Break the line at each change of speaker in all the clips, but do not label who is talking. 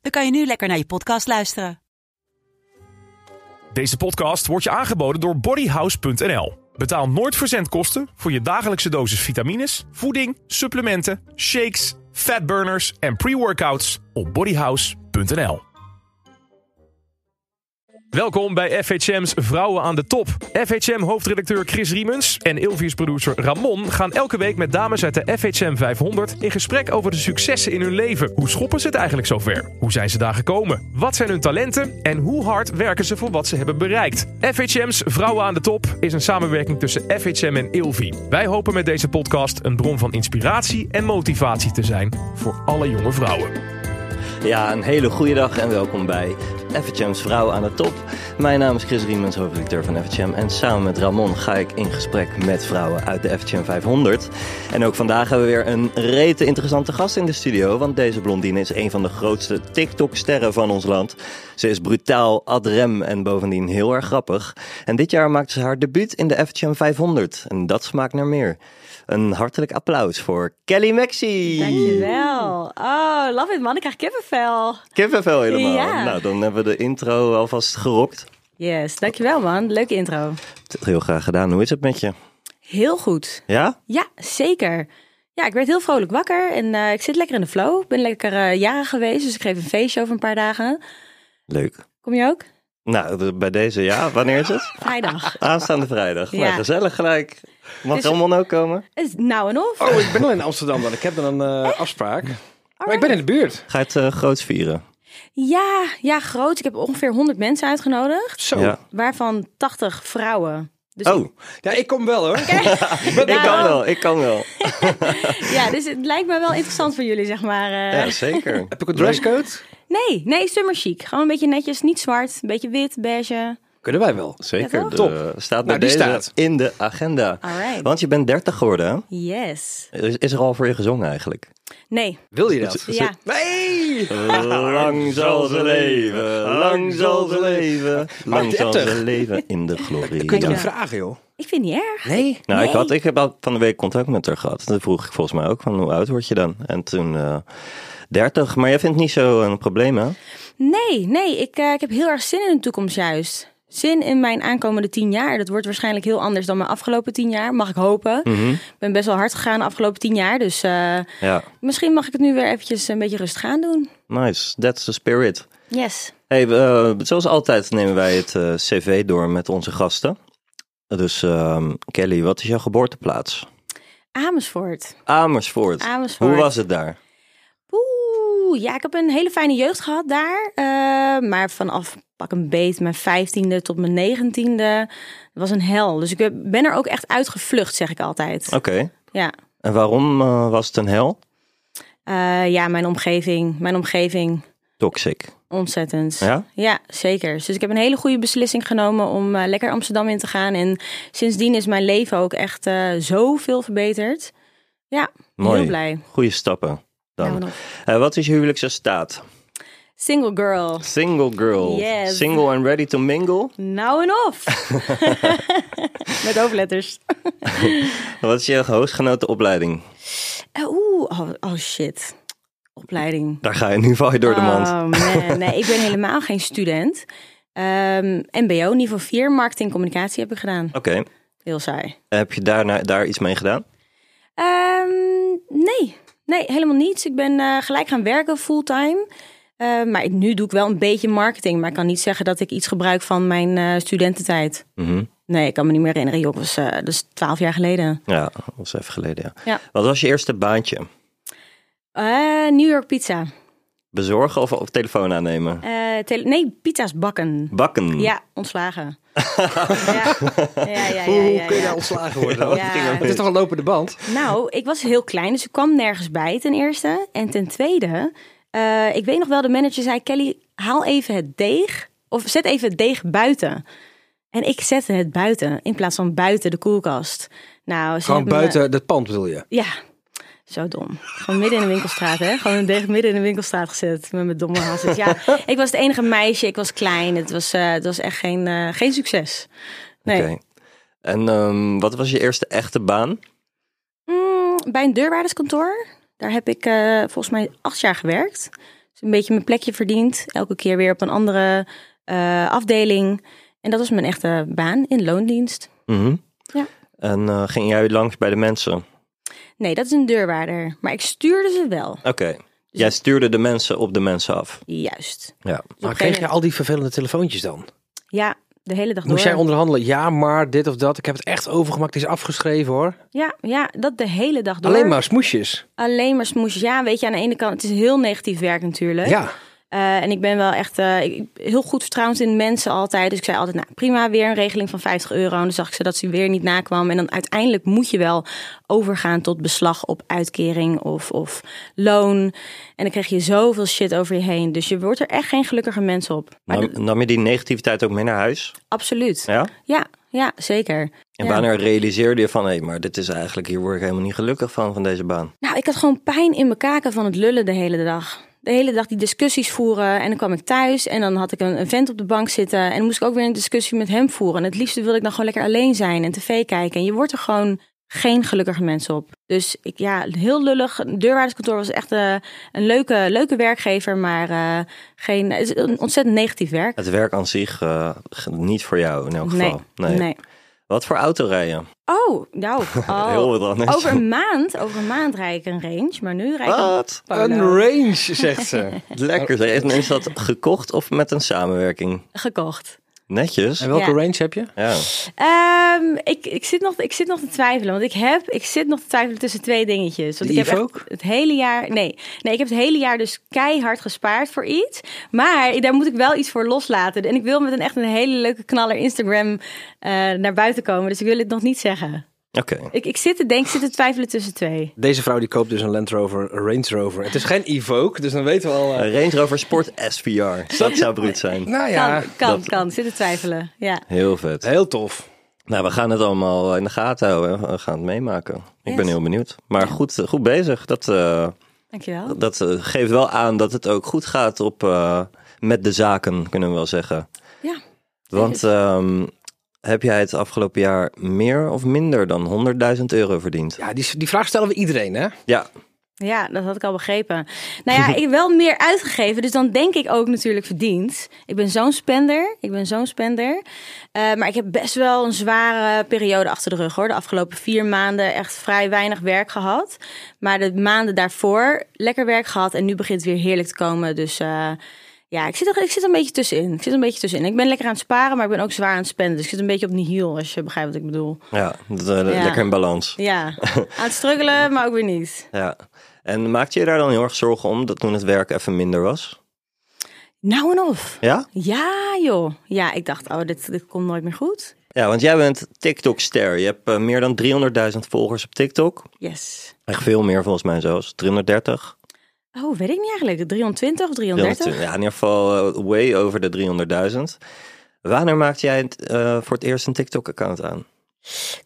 dan kan je nu lekker naar je podcast luisteren.
Deze podcast wordt je aangeboden door bodyhouse.nl. Betaal nooit verzendkosten voor je dagelijkse dosis vitamines, voeding, supplementen, shakes, fatburners en pre-workouts op bodyhouse.nl. Welkom bij FHM's Vrouwen aan de Top. FHM-hoofdredacteur Chris Riemens en Ilvius-producer Ramon gaan elke week met dames uit de FHM 500 in gesprek over de successen in hun leven. Hoe schoppen ze het eigenlijk zover? Hoe zijn ze daar gekomen? Wat zijn hun talenten? En hoe hard werken ze voor wat ze hebben bereikt? FHM's Vrouwen aan de Top is een samenwerking tussen FHM en Ilvi. Wij hopen met deze podcast een bron van inspiratie en motivatie te zijn voor alle jonge vrouwen.
Ja, een hele goede dag en welkom bij FHM's Vrouw aan de Top. Mijn naam is Chris Riemens, hoofdredacteur van FHM. En samen met Ramon ga ik in gesprek met vrouwen uit de FHM 500. En ook vandaag hebben we weer een rete interessante gast in de studio. Want deze blondine is een van de grootste TikTok-sterren van ons land. Ze is brutaal, ad rem en bovendien heel erg grappig. En dit jaar maakte ze haar debuut in de FHM 500. En dat smaakt naar meer. Een hartelijk applaus voor Kelly Maxi.
Dankjewel. Oh, love it man, ik krijg kippenvel.
Kippenvel helemaal.
Ja.
Nou, dan hebben we de intro alvast gerokt.
Yes, dankjewel man. Leuke intro.
Heel graag gedaan. Hoe is het met je?
Heel goed.
Ja?
Ja, zeker. Ja, ik werd heel vrolijk wakker en eh, ik zit lekker in de flow. Ik ben lekker eh jaren geweest, dus ik geef een feestje over een paar dagen.
Leuk.
Kom je ook?
Nou, de- bij deze ja. Wanneer is het?
Vrijdag.
Aanstaande vrijdag.
Ja.
Nou, gezellig gelijk. Mag
Is-
Ramon ook komen?
Is nou en of?
Oh, ik ben al in Amsterdam dan. Ik heb dan een eh, afspraak. Maar ik ben in de buurt.
Ga je het eh, groots vieren?
Ja, ja, groot. Ik heb ongeveer 100 mensen uitgenodigd,
Zo.
Ja.
waarvan 80 vrouwen. Dus
Oh,
Ja, ik kom wel hoor.
ik kan
Nou.
wel. Ik kan wel.
Ja, dus het lijkt me wel interessant voor jullie, zeg maar. eh.
Ja, zeker.
Heb ik een dresscode?
Nee, nee, summer chic. Gewoon een beetje netjes, niet zwart, een beetje wit, beige.
Kunnen wij wel.
Zeker.
toch?
de-
Top.
Staat bij
Nou, die
deze
staat.
in de agenda.
Alright.
Want je bent 30 geworden. hè?
Yes.
Er Is, is er al voor je gezongen eigenlijk?
Nee.
Wil je dat?
Ja.
Nee!
Lang zal ze leven, lang zal ze leven, lang zal ze
30.
leven in de glorie.
Kun je toch
Ja.
niet vragen, joh?
Ik vind het niet erg.
Nee.
Nou, ik,
Nee.
had, ik heb al van de week contact met haar gehad. Toen vroeg ik volgens mij ook van hoe oud word je dan? En toen eh 30. Maar jij vindt het niet zo een probleem, hè?
Nee, nee. Ik, eh, ik heb heel erg zin in de toekomst juist. Zin in mijn aankomende tien jaar. Dat wordt waarschijnlijk heel anders dan mijn afgelopen tien jaar. Mag ik hopen. Ik ben best wel hard gegaan de afgelopen tien jaar. Dus eh,
Ja.
misschien mag ik het nu weer eventjes een beetje rustig aan doen.
Nice, that's the spirit.
Yes.
Hey, eh, zoals altijd nemen wij het eh, cv door met onze gasten. Dus ehm, Kelly, wat is jouw geboorteplaats?
Amersfoort.
Amersfoort.
Amersfoort.
Hoe was het daar?
Oeh, ja, ik heb een hele fijne jeugd gehad daar. Eh, maar vanaf pak een beet mijn vijftiende tot mijn negentiende was een hel. Dus ik ben er ook echt uitgevlucht, zeg ik altijd.
Oké.
Ja.
En waarom eh, was het een hel?
Eh, ja, mijn omgeving. Mijn omgeving.
Toxic.
Ontzettend.
Ja?
zeker. Dus ik heb een hele goede beslissing genomen om eh, lekker Amsterdam in te gaan. En sindsdien is mijn leven ook echt eh zoveel verbeterd. Ja,
Mooi.
heel blij.
Goeie stappen. Dan.
Nou, nog.
Eh, wat is je huwelijkse staat?
Single girl.
Single girl.
Yes.
Single and ready to mingle?
Nou en of. Met hoofdletters.
Wat is je hoogstgenoten opleiding?
Eh, Oeh, oh, oh shit. Opleiding.
Daar ga je nu val je door de mand.
Oh man, nee, ik ben helemaal geen student. Ehm, MBO, niveau 4, marketing en communicatie heb ik gedaan.
Oké.
Heel saai.
Heb je daarna, daar iets mee gedaan?
Ehm, nee. nee, helemaal niets. Ik ben eh, gelijk gaan werken fulltime. Eh, maar ik- nu doe ik wel een beetje marketing. Maar ik kan niet zeggen dat ik iets gebruik van mijn eh, studententijd.
Mhm.
Nee, ik kan me niet meer herinneren. Joh, dat was, eh, dat is twaalf jaar geleden.
Ja, dat was even geleden. Ja.
Ja.
Wat was je eerste baantje?
Eh, New York pizza.
Bezorgen of op telefoon aannemen?
Eh, tele- nee, pizza's bakken.
Bakken.
Ja, ontslagen. ja. Ja, ja, ja,
Hoe
ja,
kun je
ja.
daar ontslagen worden?
Ja. Wat ging er
Het is toch een lopende band?
Nou, ik was heel klein, dus ik kwam nergens bij ten eerste. En ten tweede, Eh, ik weet nog wel, de manager zei: Kelly, haal even het deeg. Of zet even het deeg buiten. En ik zette het buiten in plaats van buiten de koelkast. Nou, ze
Gewoon
hebben me-
buiten het pand bedoel je?
ja, zo dom. Gewoon midden in de winkelstraat, hè? Gewoon een deeg midden in de winkelstraat gezet met mijn domme hazes. Ja, ik was het enige meisje, ik was klein. Het was, eh, het was echt geen, eh, geen succes. Nee.
Oké. En ehm, wat was je eerste echte baan?
Mm, bij een deurwaarderskantoor. Daar heb ik eh, volgens mij acht jaar gewerkt. Dus een beetje mijn plekje verdiend. Elke keer weer op een andere eh, afdeling. En dat was mijn echte baan in loondienst.
Mhm.
Ja.
En eh, ging jij langs bij de mensen? Oké.
Nee, dat is een deurwaarder. Maar ik stuurde ze wel.
Jij stuurde de mensen op de mensen af.
Juist.
Ja.
Maar
een gegeven
kreeg je al die vervelende telefoontjes dan?
Ja, de hele dag door.
Moest jij onderhandelen? Ja, maar dit of dat. Ik heb het echt overgemaakt. Het is afgeschreven hoor.
Ja, ja, dat de hele dag door.
Alleen maar smoesjes.
Alleen maar smoesjes. Ja, weet je, aan de ene kant, het is heel negatief werk natuurlijk.
Ja.
Eh, en ik ben wel echt eh, ik- heel goed vertrouwd in mensen altijd. Dus ik zei altijd, nou prima, weer een regeling van 50 euro. En dan zag ik ze dat ze weer niet nakwam. En dan uiteindelijk moet je wel overgaan tot beslag op uitkering of, of loon. En dan krijg je zoveel shit over je heen. Dus je wordt er echt geen gelukkige mensen op. Maar
Nam,
dat-
nam je die negativiteit ook mee naar huis?
absoluut.
Nou, Ja.
Ja, ja, zeker.
En
Ja.
wanneer realiseerde je van, hé, maar dit is eigenlijk, hier word ik helemaal niet gelukkig van, van deze baan.
Nou, ik had gewoon pijn in mijn kaken van het lullen de hele dag. De hele dag die discussies voeren. En dan kwam ik thuis en dan had ik een, een vent op de bank zitten. En dan moest ik ook weer een discussie met hem voeren. En het liefste wilde ik dan gewoon lekker alleen zijn en tv kijken. En je wordt er gewoon geen gelukkige mensen op. Dus ik, ja, heel lullig. Een Deurwaarderskantoor was echt eh, een leuke, leuke werkgever. Maar eh, geen, het is een ontzettend negatief werk.
Het werk aan zich eh, g- niet voor jou in elk
Nee,
geval. Wat voor auto rij je?
Oh, nou. oh.
Heel wat anders.
Over een maand, over een maand rijd ik een range. Maar nu rijd ik een
Wat?
Een range, zegt ze.
Lekker. zeg. En Is dat gekocht of met een samenwerking?
gekocht.
Netjes.
En welke
Ja.
range heb je?
Ja.
Ehm, ik, ik, zit nog, ik zit nog te twijfelen. Want ik, heb, ik zit nog te twijfelen tussen twee dingetjes. Want
De
ik heb
Evo
echt
ook?
het hele jaar. Nee, nee, ik heb het hele jaar dus keihard gespaard voor iets. Maar daar moet ik wel iets voor loslaten. En ik wil met een echt een hele leuke knaller Instagram eh, naar buiten komen. Dus ik wil het nog niet zeggen.
Oké.
Ik, ik zit te denken, ik zit te twijfelen tussen twee.
Deze vrouw die koopt dus een Land Rover, een Range Rover. Het is geen Evoque, dus dan weten we al... eh,
Een Range Rover Sport SVR. Dat zou bruut zijn.
nou
Kan,
ja,
kan,
dat-
kan. Zit te twijfelen. Ja.
Heel vet.
heel tof.
Nou, we gaan het allemaal in de gaten houden. We gaan het meemaken. Ik
Yes.
ben heel benieuwd. Maar goed, eh, goed bezig. Dat, eh,
Dankjewel.
dat eh, geeft wel aan dat het ook goed gaat op, eh, met de zaken, kunnen we wel zeggen.
Ja.
Want ehm, heb jij het afgelopen jaar meer of minder dan 100.000 euro verdiend?
Ja, die, die vraag stellen we iedereen, hè?
Ja,
Ja, dat had ik al begrepen. Nou ja, ik heb wel meer uitgegeven, dus dan denk ik ook natuurlijk verdiend. Ik ben zo'n spender, ik ben zo'n spender. Eh, maar ik heb best wel een zware periode achter de rug, hoor. De afgelopen vier maanden echt vrij weinig werk gehad. Maar de maanden daarvoor lekker werk gehad en nu begint het weer heerlijk te komen. Dus eh, ja, ik zit, er, ik zit er een beetje tussenin. Ik zit een beetje tussenin. Ik ben lekker aan het sparen, maar ik ben ook zwaar aan het spenden. Dus ik zit een beetje op nihil, als je begrijpt wat ik bedoel.
ja, dat, eh,
Ja.
lekker in balans.
Ja, aan het struggelen, maar ook weer niet.
Ja. En maakte je daar dan heel erg zorgen om dat toen het werk even minder was?
Nou en of.
Ja?
Ja, joh. Ja, ik dacht, oh, dit, dit komt nooit meer goed.
Ja, want jij bent TikTok-ster. Je hebt eh, meer dan 300.000 volgers op TikTok.
Yes.
Echt veel meer volgens mij zelfs. 330.
Oh, weet ik niet eigenlijk. 320 of 330?
320. Ja, in ieder geval eh, way over de 300.000. Wanneer maakte jij het, eh, voor het eerst een TikTok-account aan?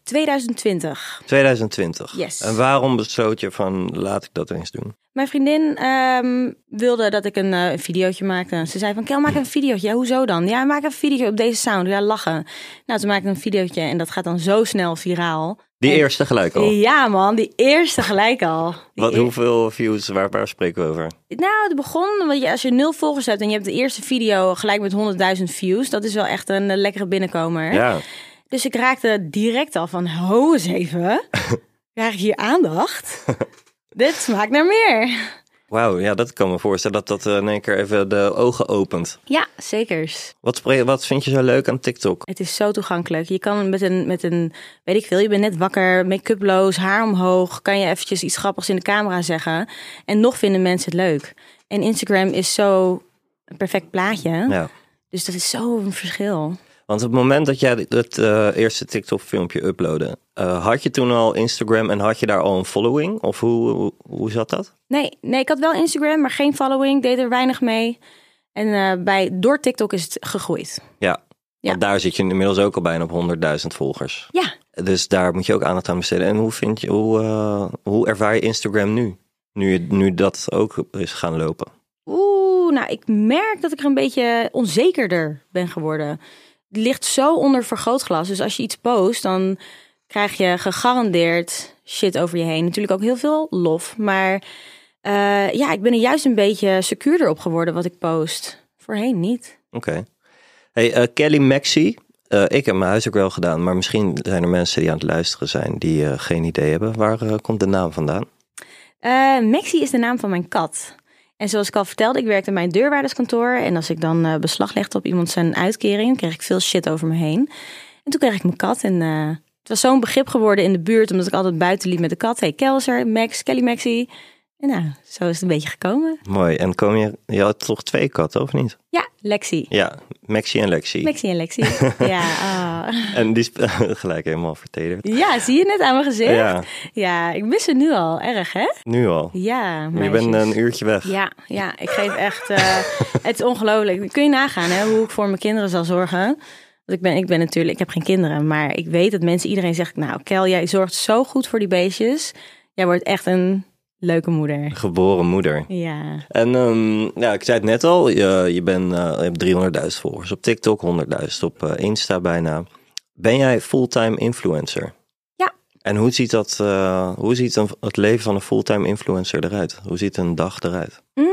2020.
2020.
Yes.
En waarom besloot je van laat ik dat eens doen?
Mijn vriendin ehm, wilde dat ik een eh, een videootje maakte. Ze zei van, Kel, maak een videootje. Ja, hoezo dan? Ja, maak een video op deze sound. Ja, lachen. Nou, toen maakte ik een videootje en dat gaat dan zo snel viraal.
Die
En-
eerste gelijk al.
Ja, man. Die eerste gelijk al. Die
Wat,
eer-
hoeveel views, waar, waar spreken we over?
Nou, het begon, want je- als je nul volgers hebt en je hebt de eerste video gelijk met 100.000 views, dat is wel echt een eh, lekkere binnenkomer.
Ja,
Dus ik raakte direct al van, ho eens even, krijg ik hier aandacht? Dit smaakt naar meer.
wauw, ja, dat kan me voorstellen dat dat eh, in één keer even de ogen opent.
Ja, zekers.
Wat, spre- wat vind je zo leuk aan TikTok?
Het is zo toegankelijk. Je kan met een, met een weet ik veel, je bent net wakker, make-uploos, haar omhoog, kan je eventjes iets grappigs in de camera zeggen. En nog vinden mensen het leuk. En Instagram is zo een perfect plaatje.
Ja.
Dus dat is zo'n verschil.
Want op het moment dat jij het eh, eerste TikTok-filmpje uploadde, eh, had je toen al Instagram en had je daar al een following? Of hoe, hoe, hoe zat dat?
Nee, nee, ik had wel Instagram, maar geen following, deed er weinig mee. En eh, bij, door TikTok is het gegroeid.
Ja.
Ja.
Want daar zit je inmiddels ook al bijna op 100.000 volgers.
Ja,
Dus daar moet je ook aandacht aan besteden. En hoe, vind je, hoe, eh, hoe ervaar je Instagram nu? Nu, je- nu dat ook is gaan lopen.
Oeh, nou, ik merk dat ik er een beetje onzekerder ben geworden. Het ligt zo onder vergrootglas. Dus als je iets post, dan krijg je gegarandeerd shit over je heen. Natuurlijk ook heel veel lof. Maar eh, ja, ik ben er juist een beetje secuurder op geworden wat ik post. Voorheen niet.
Oké. Hey, eh, Kelly Maxi. Eh, ik heb mijn huiswerk wel gedaan, maar misschien zijn er mensen die aan het luisteren zijn die eh, geen idee hebben. Waar eh, komt de naam vandaan?
Eh Maxi is de naam van mijn kat. En zoals ik al vertelde, ik werkte in mijn deurwaarderskantoor. En als ik dan eh, beslag legde op iemand zijn uitkering, kreeg ik veel shit over me heen. En toen kreeg ik mijn kat. En eh, het was zo'n begrip geworden in de buurt, omdat ik altijd buiten liep met de kat. Hey, Kelser, Max, Kelly Maxi. En nou, zo is het een beetje gekomen.
Mooi. En kom je, je had toch twee katten, of niet?
Ja, Lexi.
Ja, Maxi en Lexi.
Maxi en Lexi. ja, ah.
En die sp- gelijk helemaal vertederd.
ja, zie je net aan mijn gezicht?
Ja,
Ja, ik mis ze nu al erg, hè?
nu al.
Ja,
Je
meisjes.
bent een uurtje weg.
Ja, ja, ik geef echt. eh, het is ongelooflijk. Kun je nagaan hè, hoe ik voor mijn kinderen zal zorgen? Want ik ben, ik ben natuurlijk, ik heb geen kinderen, maar ik weet dat mensen, iedereen zegt: Nou, Kel, jij zorgt zo goed voor die beestjes. Jij wordt echt een leuke moeder.
Geboren moeder.
Ja,
En ehm, ja, ik zei het net al, je, je, bent, eh, je hebt 300.000 volgers op TikTok, 100.000 op eh, Insta bijna. Ben jij fulltime influencer?
Ja.
En hoe ziet, dat, eh, hoe ziet een, het leven van een fulltime influencer eruit? Hoe ziet een dag eruit?
Mm,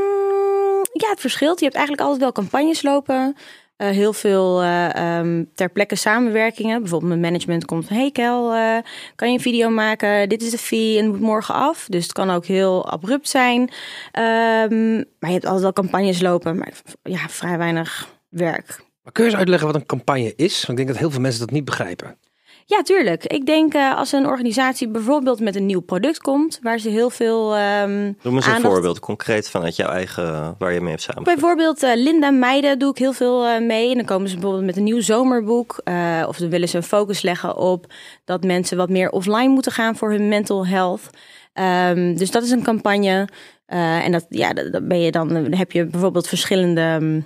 ja, het verschilt. Je hebt eigenlijk altijd wel campagnes lopen. Eh, heel veel eh, ehm, ter plekke samenwerkingen. Bijvoorbeeld mijn management komt van... Hey Kel, eh, kan je een video maken? Dit is de fee en het moet morgen af. Dus het kan ook heel abrupt zijn. Ehm, maar je hebt altijd wel campagnes lopen. Maar v- ja, vrij weinig werk.
Maar kun je eens uitleggen wat een campagne is? Want ik denk dat heel veel mensen dat niet begrijpen.
Ja, tuurlijk. Ik denk eh, als een organisatie bijvoorbeeld met een nieuw product komt... waar ze heel veel ehm
Noem eens een
Aandacht.
voorbeeld, concreet vanuit jouw eigen, waar je mee hebt samen.
Bijvoorbeeld eh, Linda Meiden doe ik heel veel eh, mee. En dan komen ze bijvoorbeeld met een nieuw zomerboek. eh, of dan willen ze een focus leggen op dat mensen wat meer offline moeten gaan voor hun mental health. Ehm, dus dat is een campagne. Eh, en dat, ja, dat, dat ben je dan, eh, dan heb je bijvoorbeeld verschillende ehm,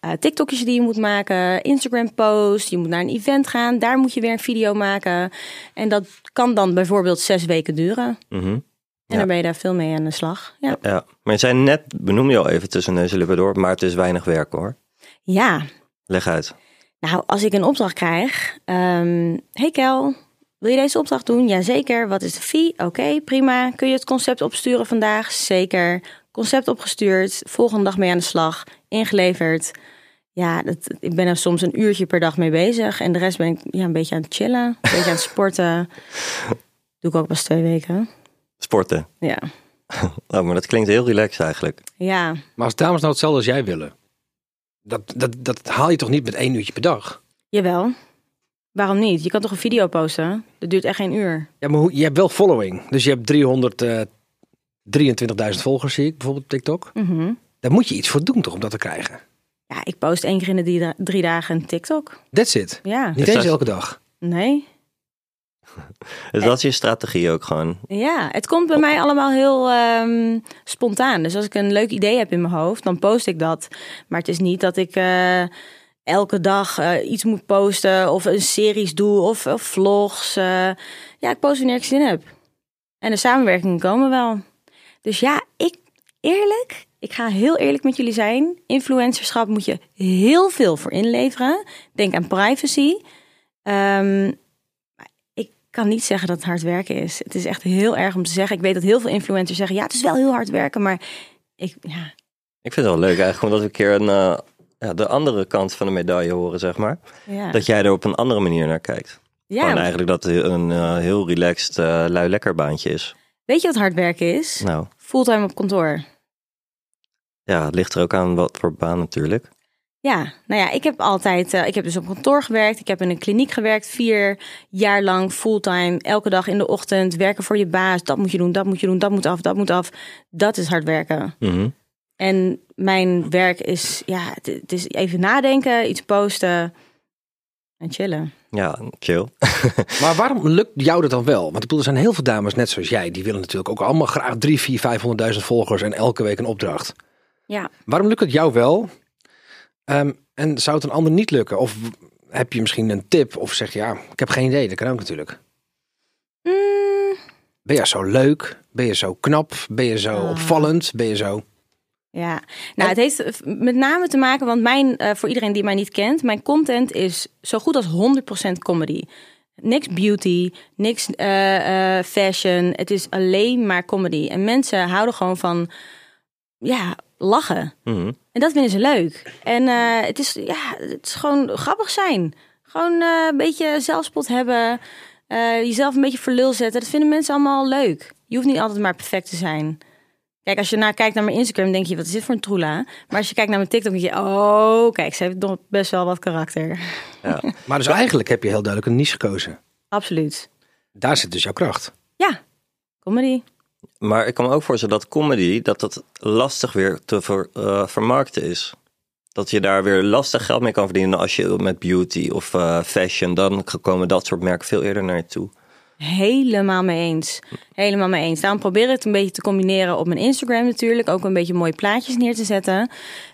eh, TikTokjes die je moet maken, Instagram post, je moet naar een event gaan, daar moet je weer een video maken. En dat kan dan bijvoorbeeld zes weken duren. En
Mhm. Ja.
dan ben je daar veel mee aan de slag. Ja.
Ja, maar je zei net, benoem je al even tussen neus en lippen door, maar het is weinig werk hoor.
ja,
Leg uit.
Nou, als ik een opdracht krijg. ehm hey Kel, wil je deze opdracht doen? Jazeker. Wat is de fee? Oké, prima. Kun je het concept opsturen vandaag? Zeker. Concept opgestuurd. Volgende dag mee aan de slag. Ingeleverd. Ja, dat, ik ben er soms een uurtje per dag mee bezig. En de rest ben ik ja, een beetje aan het chillen. Een beetje aan het sporten. Doe ik ook pas twee weken.
Sporten.
Ja.
Oh, maar dat klinkt heel relaxed eigenlijk.
Ja.
Maar als dames nou hetzelfde als jij willen, dat, dat, dat haal je toch niet met één uurtje per dag?
Jawel. Waarom niet? Je kan toch een video posten? Dat duurt echt geen uur.
Ja, maar hoe, je hebt wel following. Dus je hebt 323.000 volgers, zie ik bijvoorbeeld op TikTok.
Mhm.
Daar moet je iets voor doen toch om dat te krijgen?
Ja, ik post één keer in de drie- drie dagen een TikTok.
That's it.
Ja,
Niet
Dus
eens
dat-
elke dag.
nee.
Dus dat is je strategie ook gewoon.
Ja, het komt bij mij allemaal heel ehm, spontaan. Dus als ik een leuk idee heb in mijn hoofd, dan post ik dat. Maar het is niet dat ik eh, elke dag eh, iets moet posten of een series doe of, of vlogs. eh. ja, ik post wanneer ik zin heb. En de samenwerkingen komen wel. Dus ja, ik eerlijk, ik ga heel eerlijk met jullie zijn. Influencerschap moet je heel veel voor inleveren. Denk aan privacy. Ehm, ik kan niet zeggen dat het hard werken is. Het is echt heel erg om te zeggen. Ik weet dat heel veel influencers zeggen: ja, het is wel heel hard werken, maar ik, ja,
Ik vind het wel leuk eigenlijk, omdat we een keer een, eh, ja, de andere kant van de medaille horen, zeg maar.
ja.
Dat jij er op een andere manier naar kijkt.
ja.
Gewoon eigenlijk dat het een eh, heel relaxed, eh lui lekker baantje is.
Weet je wat hard werken is?
Nou,
Fulltime op kantoor.
ja, het ligt er ook aan wat voor baan natuurlijk.
Ja, nou ja, ik heb altijd, eh, ik heb dus op kantoor gewerkt, ik heb in een kliniek gewerkt, vier jaar lang fulltime, elke dag in de ochtend, werken voor je baas, dat moet je doen, dat moet je doen, dat moet af, dat moet af. Dat is hard werken.
Mhm.
En mijn werk is, ja, het, het is even nadenken, iets posten en chillen.
Ja, chill.
Maar waarom lukt jou dat dan wel? Want ik bedoel, er zijn heel veel dames, net zoals jij, die willen natuurlijk ook allemaal graag 3, 4, 500.000 volgers en elke week een opdracht.
Ja.
Waarom lukt het jou wel? Ehm, en zou het een ander niet lukken? Of heb je misschien een tip? Of zeg je, ja, ik heb geen idee, dat kan ook natuurlijk.
Mm,
Ben je zo leuk? Ben je zo knap? Ben je zo
Ah.
opvallend? Ben je zo...
Ja, nou het heeft eh, f- met name te maken, want mijn, eh, voor iedereen die mij niet kent, mijn content is zo goed als 100% comedy. Niks beauty, niks eh, eh, fashion. Het is alleen maar comedy. En mensen houden gewoon van, ja, lachen.
Mhm.
En dat vinden ze leuk. En eh, het, is, ja, het is gewoon grappig zijn. Gewoon eh, een beetje zelfspot hebben. eh, jezelf een beetje voor lul zetten. Dat vinden mensen allemaal leuk. Je hoeft niet altijd maar perfect te zijn. Kijk, als je naar kijkt naar mijn Instagram, denk je, wat is dit voor een troela? Maar als je kijkt naar mijn TikTok, denk je, oh, kijk, ze heeft nog best wel wat karakter.
Maar dus eigenlijk heb je heel duidelijk een niche gekozen.
Absoluut.
Daar zit dus jouw kracht.
Ja, comedy.
Maar ik kan me ook voorstellen dat comedy, dat dat lastig weer te ver- eh, vermarkten is. Dat je daar weer lastig geld mee kan verdienen als je met beauty of eh, fashion, dan komen dat soort merken veel eerder naar je toe.
Helemaal mee eens. Helemaal mee eens. Daarom probeer ik het een beetje te combineren op mijn Instagram natuurlijk. Ook een beetje mooie plaatjes neer te zetten.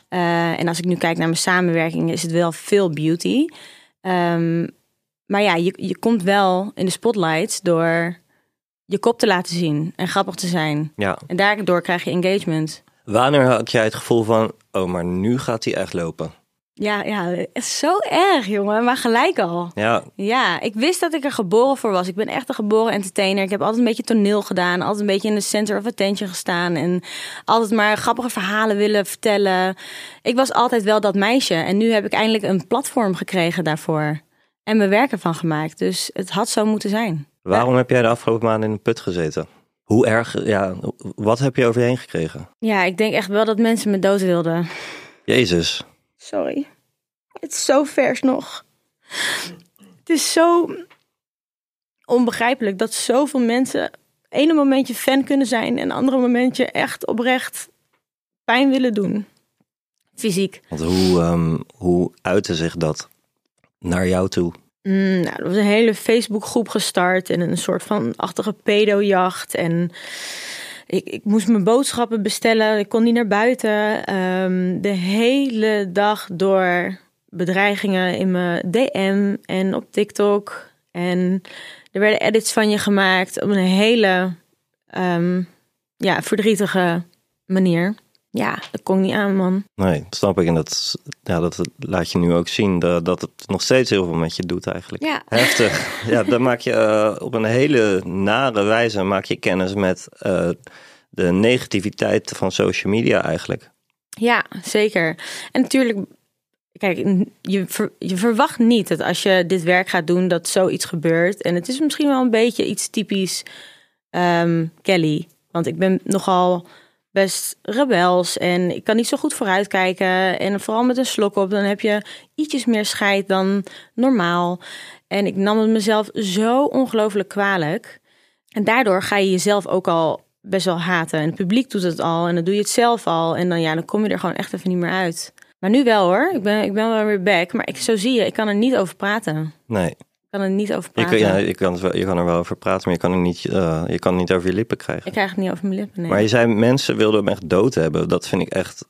Eh, en als ik nu kijk naar mijn samenwerkingen, is het wel veel beauty. Ehm, maar ja, je, je komt wel in de spotlights door je kop te laten zien en grappig te zijn.
Ja.
En daardoor krijg je engagement.
Wanneer had jij het gevoel van, oh, maar nu gaat hij echt lopen?
Ja, ja, het is zo erg, jongen. Maar gelijk al.
Ja,
Ja, ik wist dat ik er geboren voor was. Ik ben echt een geboren entertainer. Ik heb altijd een beetje toneel gedaan. Altijd een beetje in de center of attention gestaan. En altijd maar grappige verhalen willen vertellen. Ik was altijd wel dat meisje. En nu heb ik eindelijk een platform gekregen daarvoor. En mijn werk ervan gemaakt. Dus het had zo moeten zijn.
waarom heb jij de afgelopen maanden in de put gezeten? Hoe erg, ja, wat heb je over je heen gekregen?
Ja, ik denk echt wel dat mensen me dood wilden.
Jezus.
Sorry. Het is zo vers nog. Het is zo onbegrijpelijk dat zoveel mensen ene momentje fan kunnen zijn en andere momentje echt oprecht pijn willen doen. Fysiek.
Want hoe, ehm hoe uitte zich dat naar jou toe?
Mm, nou, er was een hele Facebookgroep gestart en een soort van achtige pedojacht. En ik, ik moest mijn boodschappen bestellen. Ik kon niet naar buiten. Ehm, de hele dag door bedreigingen in mijn DM en op TikTok. En er werden edits van je gemaakt op een hele ehm, ja, verdrietige manier. Ja, dat kon ik niet aan, man.
Nee, dat snap ik. En dat, is- ja, dat laat je nu ook zien dat, dat het nog steeds heel veel met je doet eigenlijk.
Ja.
Heftig. ja, dan maak je eh, op een hele nare wijze maak je kennis met eh, de negativiteit van social media eigenlijk.
Ja, zeker. En natuurlijk, kijk, n- je, ver- je verwacht niet dat als je dit werk gaat doen, dat zoiets gebeurt. En het is misschien wel een beetje iets typisch ehm, Kelly. Want ik ben nogal best rebels en ik kan niet zo goed vooruitkijken. En vooral met een slok op, dan heb je ietsjes meer scheid dan normaal. En ik nam het mezelf zo ongelooflijk kwalijk. En daardoor ga je jezelf ook al best wel haten. En het publiek doet het al en dan doe je het zelf al. En dan, ja, dan kom je er gewoon echt even niet meer uit. Maar nu wel hoor. Ik ben, ik ben wel weer back. Maar ik, zo zie je, ik kan er niet over praten.
Nee,
Ik kan er niet over
je,
praten.
kan- ja, je, kan, het wel- je kan er wel over praten, maar je kan, er niet, eh, je kan het niet over je lippen krijgen.
Ik krijg het niet over mijn lippen. Nee.
Maar je zei mensen wilden hem echt dood hebben. Dat vind ik echt.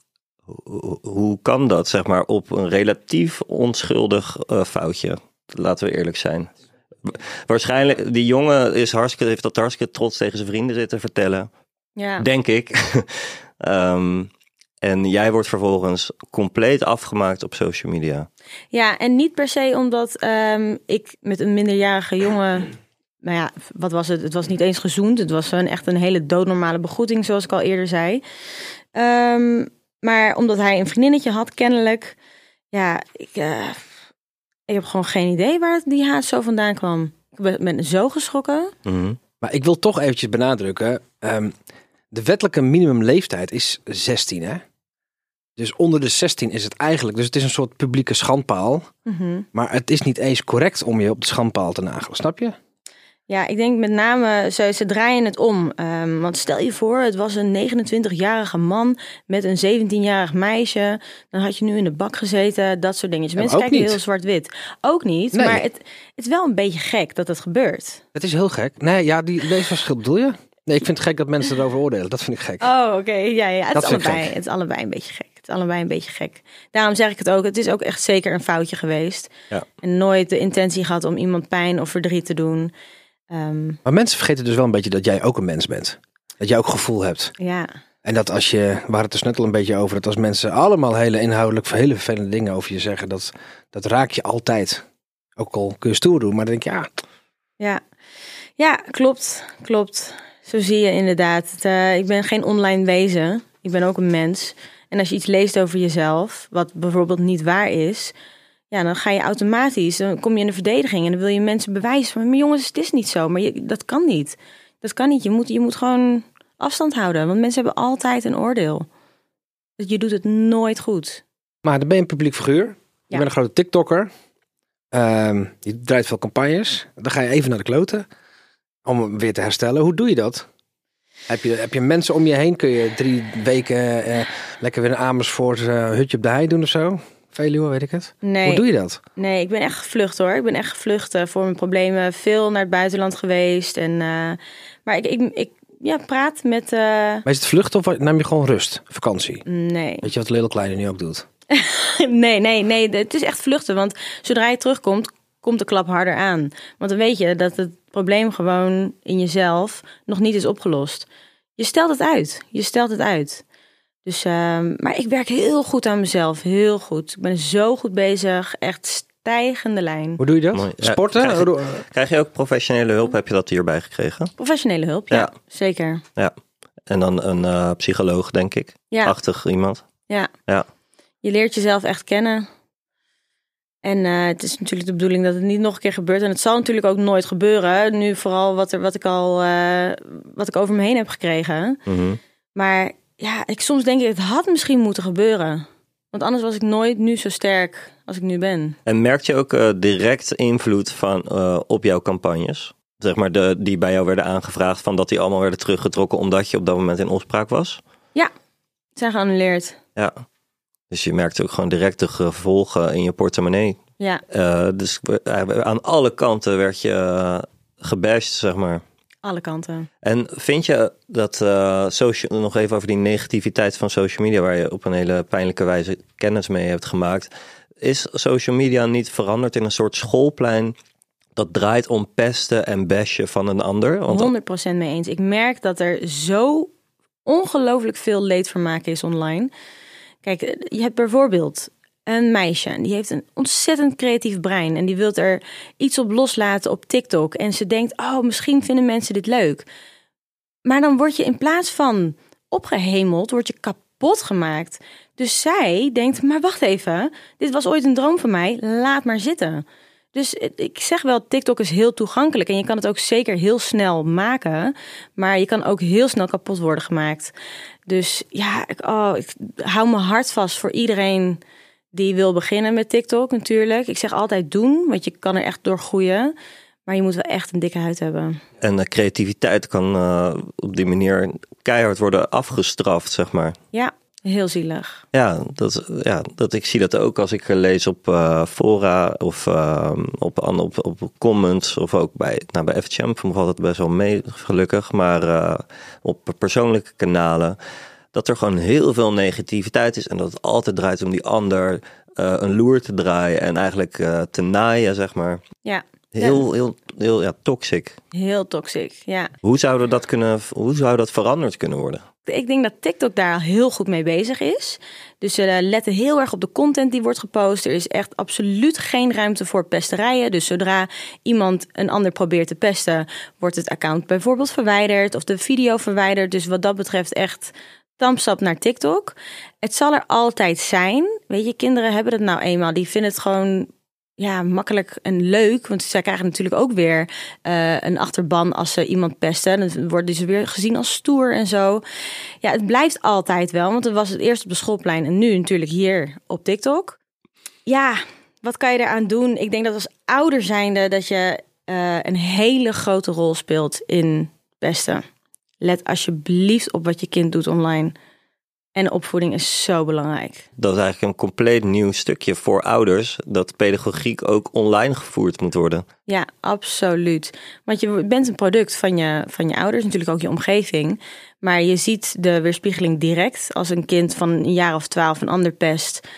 Hoe, hoe kan dat, zeg maar, op een relatief onschuldig eh, foutje? Laten we eerlijk zijn. Wa- Waarschijnlijk, die jongen is hartstikke, heeft dat hartstikke trots tegen zijn vrienden zitten vertellen.
ja.
Denk ik. Ehm, en jij wordt vervolgens compleet afgemaakt op social media.
Ja, en niet per se omdat ehm, ik met een minderjarige jongen. Nou ja, wat was het? Het was niet eens gezoend. Het was een, echt een hele doodnormale begroeting, zoals ik al eerder zei. Ehm, maar omdat hij een vriendinnetje had, kennelijk. Ja, ik, eh, ik heb gewoon geen idee waar die haat zo vandaan kwam. Ik ben, ben zo geschrokken.
Mhm.
Maar ik wil toch eventjes benadrukken. ehm, de wettelijke minimumleeftijd is 16, hè? Dus onder de 16 is het eigenlijk. Dus het is een soort publieke schandpaal. Maar het is niet eens correct om je op de schandpaal te nagelen, snap je?
Ja, ik denk met name, ze, ze draaien het om. Ehm, want stel je voor, het was een 29-jarige man met een 17-jarig meisje. Dan had je nu in de bak gezeten, dat soort dingetjes.
maar
Mensen
ook
kijken
niet.
heel zwart-wit. Ook niet,
Nee.
maar het, het is wel een beetje gek dat het gebeurt.
Het is heel gek. Nee, ja, die leesverschil bedoel je? Nee, ik vind het gek dat mensen erover oordelen. Dat vind ik gek.
Oh, oké. Ja, ja, het
Dat
is
vind ik
allebei.
gek.
Het is allebei een beetje gek. Het is allebei een beetje gek. Daarom zeg ik het ook. Het is ook echt zeker een foutje geweest.
Ja.
En nooit de intentie gehad om iemand pijn of verdriet te doen. Ehm,
Maar mensen vergeten dus wel een beetje dat jij ook een mens bent. Dat jij ook gevoel hebt.
ja.
En dat als je, we hadden het er net al een beetje over, dat als mensen allemaal hele inhoudelijk hele vervelende dingen over je zeggen, dat, dat raak je altijd. Ook al kun je stoer doen, maar dan denk je, ja,
Ja, ja klopt. Klopt. Zo zie je inderdaad. Het, eh, ik ben geen online wezen. Ik ben ook een mens. En als je iets leest over jezelf, wat bijvoorbeeld niet waar is, ja, dan ga je automatisch, dan kom je in de verdediging en dan wil je mensen bewijzen van, maar jongens, het is niet zo, maar je, dat kan niet. Dat kan niet. Je moet, je moet gewoon afstand houden, want mensen hebben altijd een oordeel. Dus Je doet het nooit goed.
maar dan ben je een publiek figuur. Je
Ja.
bent een grote TikTokker. Ehm, je draait veel campagnes. Dan ga je even naar de kloten om hem weer te herstellen. Hoe doe je dat? Heb je, heb je mensen om je heen? Kun je drie weken eh, lekker weer een Amersfoort eh, hutje op de hei doen of zo? Veluwe, weet ik het.
Nee.
Hoe doe je dat?
Nee, ik ben echt gevlucht hoor. Ik ben echt gevlucht eh, voor mijn problemen. Veel naar het buitenland geweest. En, eh, maar ik, ik, ik ja, praat met. eh,
Maar is het vluchten of neem je gewoon rust? Vakantie?
nee.
Weet je wat Lil Kleine nu ook doet?
nee, nee, nee. Het is echt vluchten. Want zodra je terugkomt, komt de klap harder aan. Want dan weet je dat het probleem gewoon in jezelf nog niet is opgelost. Je stelt het uit. Je stelt het uit. Dus, ehm, maar ik werk heel goed aan mezelf. Heel goed. Ik ben zo goed bezig. Echt stijgende lijn.
Hoe doe je dat?
Mooi. Ja,
Sporten?
krijg
Hoe doe-
Krijg je ook professionele hulp? Heb je dat hierbij gekregen?
Professionele hulp, ja.
Ja.
Zeker.
Ja. En dan een eh, psycholoog, denk ik.
Ja.
Achtig iemand.
Ja.
Ja.
Je leert jezelf echt kennen. En eh, het is natuurlijk de bedoeling dat het niet nog een keer gebeurt. En het zal natuurlijk ook nooit gebeuren. Nu vooral wat, er, wat ik al eh, wat ik over me heen heb gekregen.
Mhm.
Maar ja, ik, soms denk ik, het had misschien moeten gebeuren. Want anders was ik nooit nu zo sterk als ik nu ben.
En merkte je ook eh, direct invloed van, eh, op jouw campagnes? Zeg maar de, die bij jou werden aangevraagd, van dat die allemaal werden teruggetrokken omdat je op dat moment in opspraak was?
Het zijn geannuleerd.
Ja. Dus je merkte ook gewoon direct de gevolgen in je portemonnee.
Ja,
Eh, dus we- eh, aan alle kanten werd je eh, gebashed, zeg maar.
alle kanten.
En vind je dat eh, social, nog even over die negativiteit van social media, waar je op een hele pijnlijke wijze kennis mee hebt gemaakt, is social media niet veranderd in een soort schoolplein dat draait om pesten en bashen van een ander? Want
100% mee eens. Ik merk dat er zo ongelooflijk veel leedvermaak is online. Kijk, eh, je hebt bijvoorbeeld een meisje en die heeft een ontzettend creatief brein en die wilt er iets op loslaten op TikTok en ze denkt: "Oh, misschien vinden mensen dit leuk." Maar dan word je in plaats van opgehemeld, word je kapot gemaakt. Dus zij denkt: "Maar wacht even, dit was ooit een droom van mij, laat maar zitten." Dus eh, ik zeg wel, TikTok is heel toegankelijk en je kan het ook zeker heel snel maken, maar je kan ook heel snel kapot worden gemaakt. Dus ja, ik, oh, ik hou mijn hart vast voor iedereen die wil beginnen met TikTok natuurlijk. Ik zeg altijd doen, want je kan er echt door groeien, maar je moet wel echt een dikke huid hebben.
en eh, creativiteit kan eh, op die manier keihard worden afgestraft, zeg maar.
Ja, heel zielig.
Ja, dat, ja dat, ik zie dat ook als ik eh, lees op eh, fora of eh, op, an- op, op comments of ook bij, nou, bij FChamp valt het best wel mee, gelukkig. Maar eh, op persoonlijke kanalen, dat er gewoon heel veel negativiteit is en dat het altijd draait om die ander eh, een loer te draaien en eigenlijk eh, te naaien, zeg maar.
Ja,
Heel, heel, heel ja, toxic.
heel toxic. Ja.
Hoe zou dat, kunnen, hoe zou dat veranderd kunnen worden?
Ik denk dat TikTok daar al heel goed mee bezig is. Dus ze eh, letten heel erg op de content die wordt gepost. Er is echt absoluut geen ruimte voor pesterijen. Dus zodra iemand een ander probeert te pesten, wordt het account bijvoorbeeld verwijderd of de video verwijderd. Dus wat dat betreft echt thumbstap naar TikTok. Het zal er altijd zijn. Weet je, kinderen hebben dat nou eenmaal. Die vinden het gewoon ja, makkelijk en leuk. Want zij krijgen natuurlijk ook weer eh, een achterban als ze iemand pesten. Dan worden ze weer gezien als stoer en zo. Ja, het blijft altijd wel. Want het was het eerst op de schoolplein en nu natuurlijk hier op TikTok. Ja, wat kan je eraan doen? Ik denk dat als ouder zijnde dat je eh, een hele grote rol speelt in pesten. Let alsjeblieft op wat je kind doet online. En opvoeding is zo belangrijk.
Dat is eigenlijk een compleet nieuw stukje voor ouders. Dat pedagogiek ook online gevoerd moet worden.
Ja, absoluut. Want je bent een product van je, van je ouders, natuurlijk ook je omgeving. Maar je ziet de weerspiegeling direct. Als een kind van een jaar of twaalf een ander pest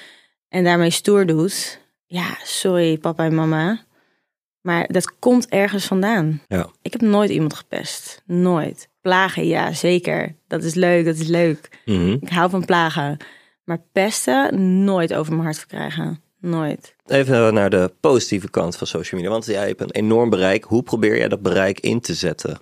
en daarmee stoer doet. Ja, sorry papa en mama. Maar dat komt ergens vandaan.
Ja.
Ik heb nooit iemand gepest. Nooit. Plagen, ja, zeker. Dat is leuk, dat is leuk.
Mhm.
Ik hou van plagen. Maar pesten, nooit over mijn hart verkrijgen. Nooit.
Even naar de positieve kant van social media. Want jij hebt een enorm bereik. Hoe probeer jij dat bereik in te zetten?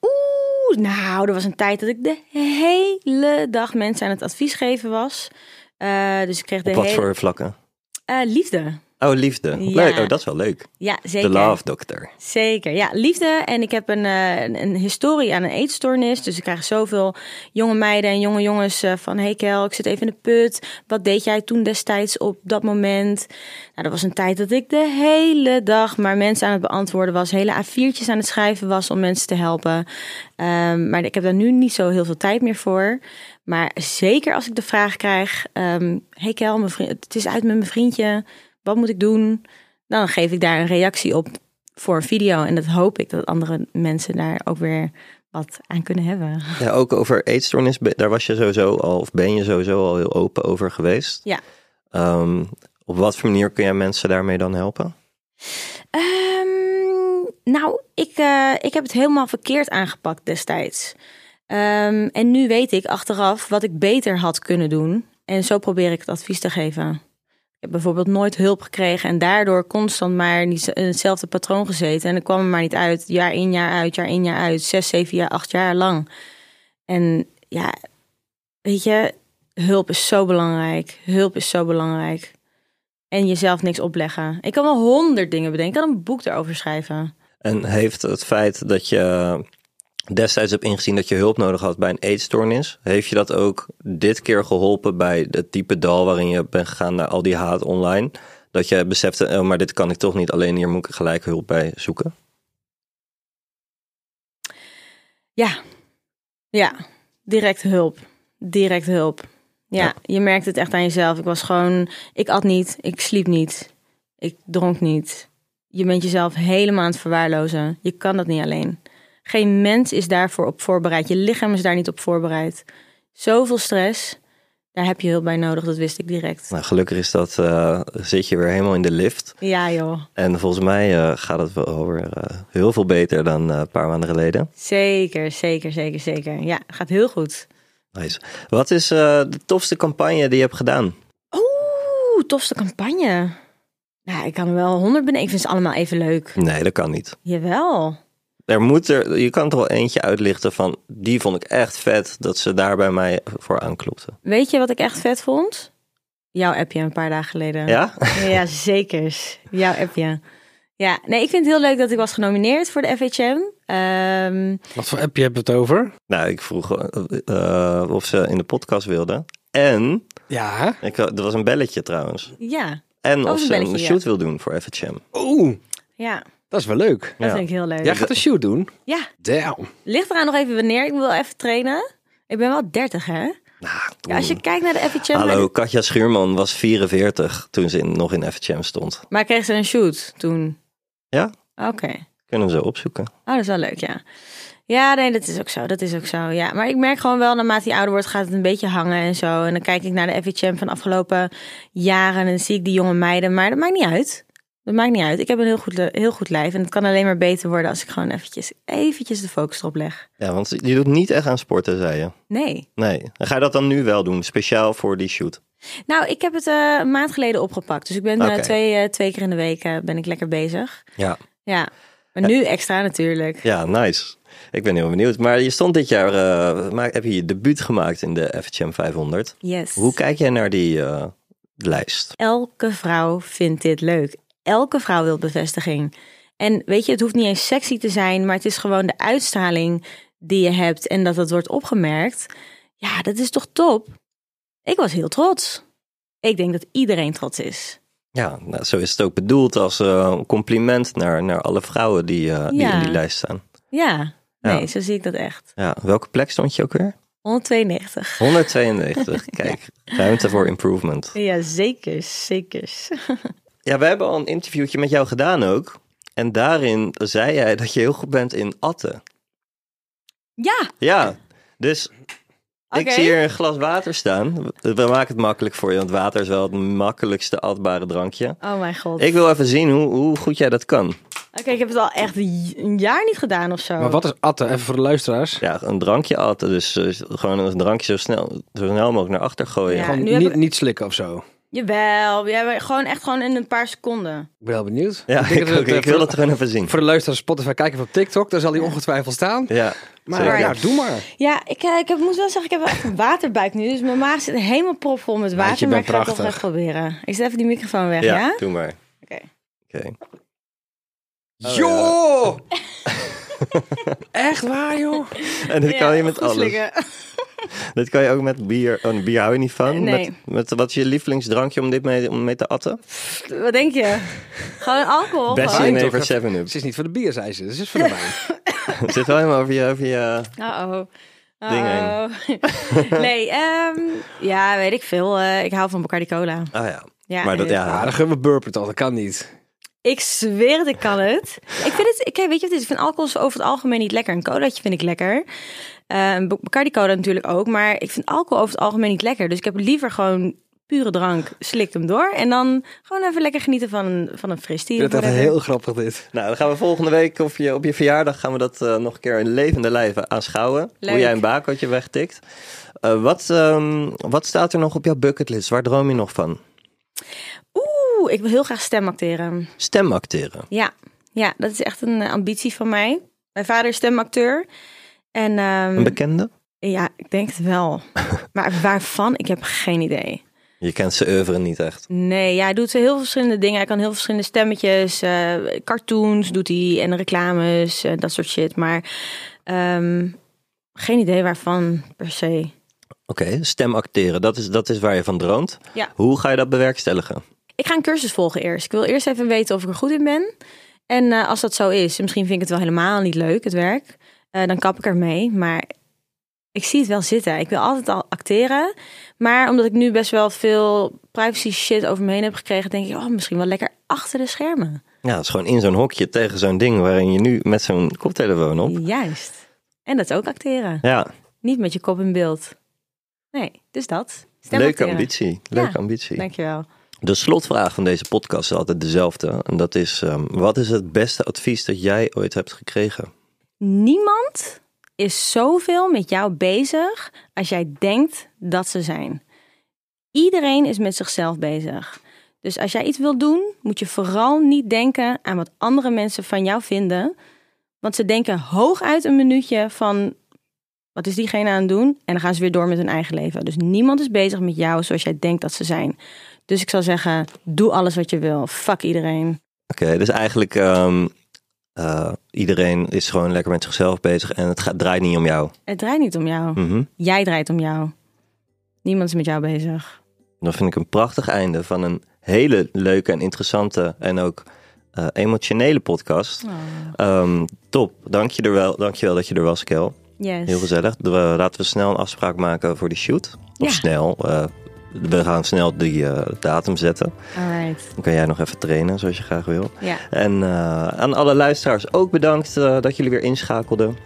Oeh, nou, er was een tijd dat ik de hele dag mensen aan het advies geven was. Eh, dus ik kreeg de
Op wat
hele...
voor vlakken?
Eh, liefde.
Oh, liefde.
Ja.
Leuk. Oh, dat is wel leuk.
Ja,
De
zeker.
Love Doctor.
Zeker, ja, liefde. En ik heb een, eh, een, een historie aan een eetstoornis. Dus ik krijg zoveel jonge meiden en jonge jongens eh, van... hey Kel, ik zit even in de put. Wat deed jij toen destijds op dat moment? Nou, dat was een tijd dat ik de hele dag maar mensen aan het beantwoorden was. Hele A4'tjes aan het schrijven was om mensen te helpen. Ehm, maar ik heb daar nu niet zo heel veel tijd meer voor. Maar zeker als ik de vraag krijg... ehm hey Kel, mijn vriend, het is uit met mijn vriendje. Wat moet ik doen? Dan geef ik daar een reactie op voor een video. En dat hoop ik dat andere mensen daar ook weer wat aan kunnen hebben.
Ja, ook over eetstoornis, be- daar was je sowieso al, of ben je sowieso al heel open over geweest.
Ja.
Ehm, op wat voor manier kun jij mensen daarmee dan helpen?
Ehm, nou, ik, eh, ik heb het helemaal verkeerd aangepakt destijds. Ehm, en nu weet ik achteraf wat ik beter had kunnen doen. En zo probeer ik het advies te geven. Ik heb bijvoorbeeld nooit hulp gekregen en daardoor constant maar in die- in hetzelfde patroon gezeten. En ik kwam er maar niet uit, jaar in, jaar uit, jaar in, jaar uit, zes, zeven jaar, acht jaar lang. En ja, weet je, hulp is zo belangrijk. Hulp is zo belangrijk. En jezelf niks opleggen. Ik kan wel honderd dingen bedenken. Ik kan een boek daarover schrijven.
En heeft het feit dat je destijds hebt ingezien dat je hulp nodig had bij een eetstoornis, heeft je dat ook dit keer geholpen bij het diepe dal waarin je bent gegaan naar al die haat online? Dat je besefte, oh, maar dit kan ik toch niet alleen, hier moet ik gelijk hulp bij zoeken.
Ja. Ja. Direct hulp. Direct hulp. Ja,
Ja.
je merkt het echt aan jezelf. Ik was gewoon... Ik at niet. Ik sliep niet. Ik dronk niet. Je bent jezelf helemaal aan het verwaarlozen. Je kan dat niet alleen. Geen mens is daarvoor op voorbereid. Je lichaam is daar niet op voorbereid. Zoveel stress. Daar heb je hulp bij nodig. Dat wist ik direct.
Nou, gelukkig is dat, eh, zit je weer helemaal in de lift.
Ja joh.
En volgens mij eh, gaat het wel weer eh, heel veel beter dan eh, een paar maanden geleden.
Zeker, zeker, zeker, zeker. Ja, gaat heel goed.
Nice. Wat is eh, de tofste campagne die je hebt gedaan?
Oeh, tofste campagne. Nou, ik kan er wel honderd bedenken. Ik vind ze allemaal even leuk.
Nee, dat kan niet.
Jawel.
Er moet er, je kan toch wel eentje uitlichten van die vond ik echt vet dat ze daar bij mij voor aanklopte.
Weet je wat ik echt vet vond? Jouw appje een paar dagen geleden.
Ja?
Ja, zekers. Jouw appje. Ja, nee, ik vind het heel leuk dat ik was genomineerd voor de FHM. Ehm,
Wat voor appje hebben we het over?
nou, ik vroeg eh, eh, of ze in de podcast wilde. En,
Ja.
ik, er was een belletje trouwens.
ja,
En of
Oh, een
ze een
belletje, ja.
shoot wil doen voor FHM.
Oeh,
ja,
dat is wel leuk.
dat
Ja.
vind ik heel leuk.
Jij gaat een shoot doen?
Ja,
Damn.
ligt eraan nog even wanneer. Ik wil even trainen. Ik ben wel 30, hè? Ja, als je kijkt naar de FHM...
Ah, Hallo, Katja Schuurman was 44 toen ze in- nog in FHM stond.
Maar kreeg ze een shoot toen?
Ja.
Oké.
Kunnen we zo opzoeken.
Oh, dat is wel leuk, ja. Ja, nee, dat is ook zo. Dat is ook zo, ja. Maar ik merk gewoon wel, naarmate je ouder wordt, gaat het een beetje hangen en zo. En dan kijk ik naar de FHM van de afgelopen jaren en dan zie ik die jonge meiden. Maar dat maakt niet uit. Dat maakt niet uit. Ik heb een heel goed, le- heel goed lijf en het kan alleen maar beter worden als ik gewoon eventjes, eventjes de focus erop leg.
Ja, want je doet niet echt aan sporten, zei je.
Nee.
Nee. En ga je dat dan nu wel doen, speciaal voor die shoot?
Nou, ik heb het eh, een maand geleden opgepakt. Dus ik ben eh,
Oké.
twee, eh, twee keer in de week eh, ben ik lekker bezig.
Ja.
Ja. Maar nu extra natuurlijk.
Ja, nice. Ik ben heel benieuwd. Maar je stond dit jaar, eh, maak, heb je je debuut gemaakt in de FHM 500.
Yes.
Hoe kijk jij naar die eh, lijst?
Elke vrouw vindt dit leuk. Elke vrouw wil bevestiging. En weet je, het hoeft niet eens sexy te zijn, maar het is gewoon de uitstraling die je hebt en dat dat wordt opgemerkt. Ja, dat is toch top? Ik was heel trots. Ik denk dat iedereen trots is.
Ja, nou, zo is het ook bedoeld als eh, compliment naar, naar alle vrouwen die, eh, die
Ja.
in die lijst staan.
Ja, nee,
Ja.
zo zie ik dat echt.
Ja, welke plek stond je ook weer?
192.
192. Kijk, ruimte voor improvement.
Ja, zeker, zeker.
Ja, we hebben al een interviewtje met jou gedaan ook. En daarin zei jij dat je heel goed bent in atten.
Ja,
Ja, dus ik
Oké.
zie hier een glas water staan. We we maken het makkelijk voor je, want water is wel het makkelijkste atbare drankje.
oh mijn god.
Ik wil even zien hoe, hoe goed jij dat kan.
Oké, ik heb het al echt een jaar niet gedaan of zo.
Maar wat is atten? Even voor de luisteraars.
Ja, een drankje atten, dus eh, gewoon een drankje zo snel, zo snel mogelijk naar achter gooien.
Ja.
Gewoon
nu
niet,
hebben we-
niet slikken of zo.
Jawel, ja, maar gewoon echt gewoon in een paar seconden.
Ik ben wel benieuwd.
Ja,
denk
ik,
dat
ook.
het, eh,
ik wil
voor-
dat gewoon even zien.
Voor de luisteraars Spotify kijken of op TikTok, daar zal hij ongetwijfeld staan.
Ja,
Maar
zeker.
ja, doe maar.
Ja, ik, eh, ik heb- moet wel zeggen, ik heb wel echt een waterbuik nu. Dus mijn maag zit helemaal propvol met water.
je
maar
bent
ik ga het toch
prachtig.
echt proberen. Ik zet even die microfoon weg, ja?
ja, doe maar.
Oké.
Oké.
joh! Oh, Echt waar, joh?
En dit kan je met
goed
alles.
slikken.
Dit kan je ook met bier. Oh, bier hou je niet van.
Nee.
Met, met, wat is je lievelingsdrankje om dit mee, om mee te atten?
Wat denk je? Gewoon alcohol?
Best
gewoon.
in
toch
over
even.
7-Up.
Het is niet voor de bier, zei ze. Het is voor de wijn.
Het zit wel helemaal over je... Over je
Uh-oh.
Ding
Uh-oh. nee, ehm, ja, weet ik veel. Eh, ik hou van Bacardi Cola.
oh ja.
Ja, eh,
maar dat,
nee.
Ja,
ja,
Ah, dan gaan we burpen toch, dat kan niet.
Ik zweer het, ik kan het. Ik vind het, ik, weet je wat het is? Ik vind alcohol is over het algemeen niet lekker. Een colaatje vind ik lekker. Eh, Een Bacardi cola natuurlijk ook. Maar ik vind alcohol over het algemeen niet lekker. Dus ik heb liever gewoon pure drank. Slikt hem door. En dan gewoon even lekker genieten van een, van een fristie.
Ik vind het echt
of whatever.
heel grappig, dit.
Nou, dan gaan we volgende week op je, op je verjaardag... gaan we dat eh, nog een keer in levende lijven aanschouwen.
Leuk.
Hoe jij een bakeltje wegtikt. Eh, wat, ehm, wat staat er nog op jouw bucketlist? Waar droom je nog van?
Oeh, ik wil heel graag stem acteren.
Stem acteren.
Ja, ja dat is echt een eh, ambitie van mij. Mijn vader is stemacteur. En ehm,
Een bekende?
ja, ik denk het wel. maar waarvan? Ik heb geen idee.
Je kent zijn oeuvre niet echt.
Nee, ja, hij doet heel veel verschillende dingen. Hij kan heel veel verschillende stemmetjes, eh, cartoons doet hij en reclames en dat soort shit. Maar ehm, geen idee waarvan per se.
Oké, stem acteren. Dat is, dat is waar je van droomt.
Ja.
Hoe ga je dat bewerkstelligen?
Ik ga een cursus volgen eerst. Ik wil eerst even weten of ik er goed in ben. En eh, als dat zo is, misschien vind ik het wel helemaal niet leuk, het werk. eh, dan kap ik ermee. Maar ik zie het wel zitten. Ik wil altijd al acteren. Maar omdat ik nu best wel veel privacy shit over me heen heb gekregen, denk ik, oh, misschien wel lekker achter de schermen.
Ja, het is gewoon in zo'n hokje tegen zo'n ding waarin je nu met zo'n koptelefoon op.
Juist. En dat is ook acteren.
Ja,
Niet met je kop in beeld. Nee, dus dat. Stem
leuke
acteren.
ambitie. Leuke
Ja,
ambitie.
Dankjewel.
De slotvraag van deze podcast is altijd dezelfde. En dat is, ehm, wat is het beste advies dat jij ooit hebt gekregen?
Niemand is zoveel met jou bezig als jij denkt dat ze zijn. Iedereen is met zichzelf bezig. Dus als jij iets wilt doen, moet je vooral niet denken aan wat andere mensen van jou vinden. Want ze denken hooguit een minuutje van wat is diegene aan het doen? En dan gaan ze weer door met hun eigen leven. Dus niemand is bezig met jou zoals jij denkt dat ze zijn. Dus ik zou zeggen, doe alles wat je wil. Fuck iedereen.
Oké, dus eigenlijk ehm, eh, iedereen is gewoon lekker met zichzelf bezig en het gaat, draait niet om jou.
Het draait niet om jou.
Mhm.
Jij draait om jou. Niemand is met jou bezig.
Dat vind ik een prachtig einde van een hele leuke en interessante en ook eh, emotionele podcast.
Oh.
Ehm, top, dank je er wel, dank je wel dat je er was, Kel.
Yes.
Heel gezellig. De- we- laten we snel een afspraak maken voor die shoot. Of
Ja.
snel. eh, we gaan snel die eh, datum zetten.
Alright.
Dan kan jij nog even trainen zoals je graag wil.
Ja.
En eh, aan alle luisteraars ook bedankt eh, dat jullie weer inschakelden.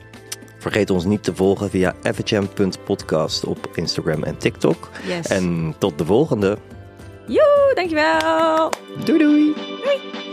Vergeet ons niet te volgen via fhm.podcast op Instagram en TikTok.
Yes.
En tot de volgende.
Joe, dankjewel.
Doei doei!
Doei.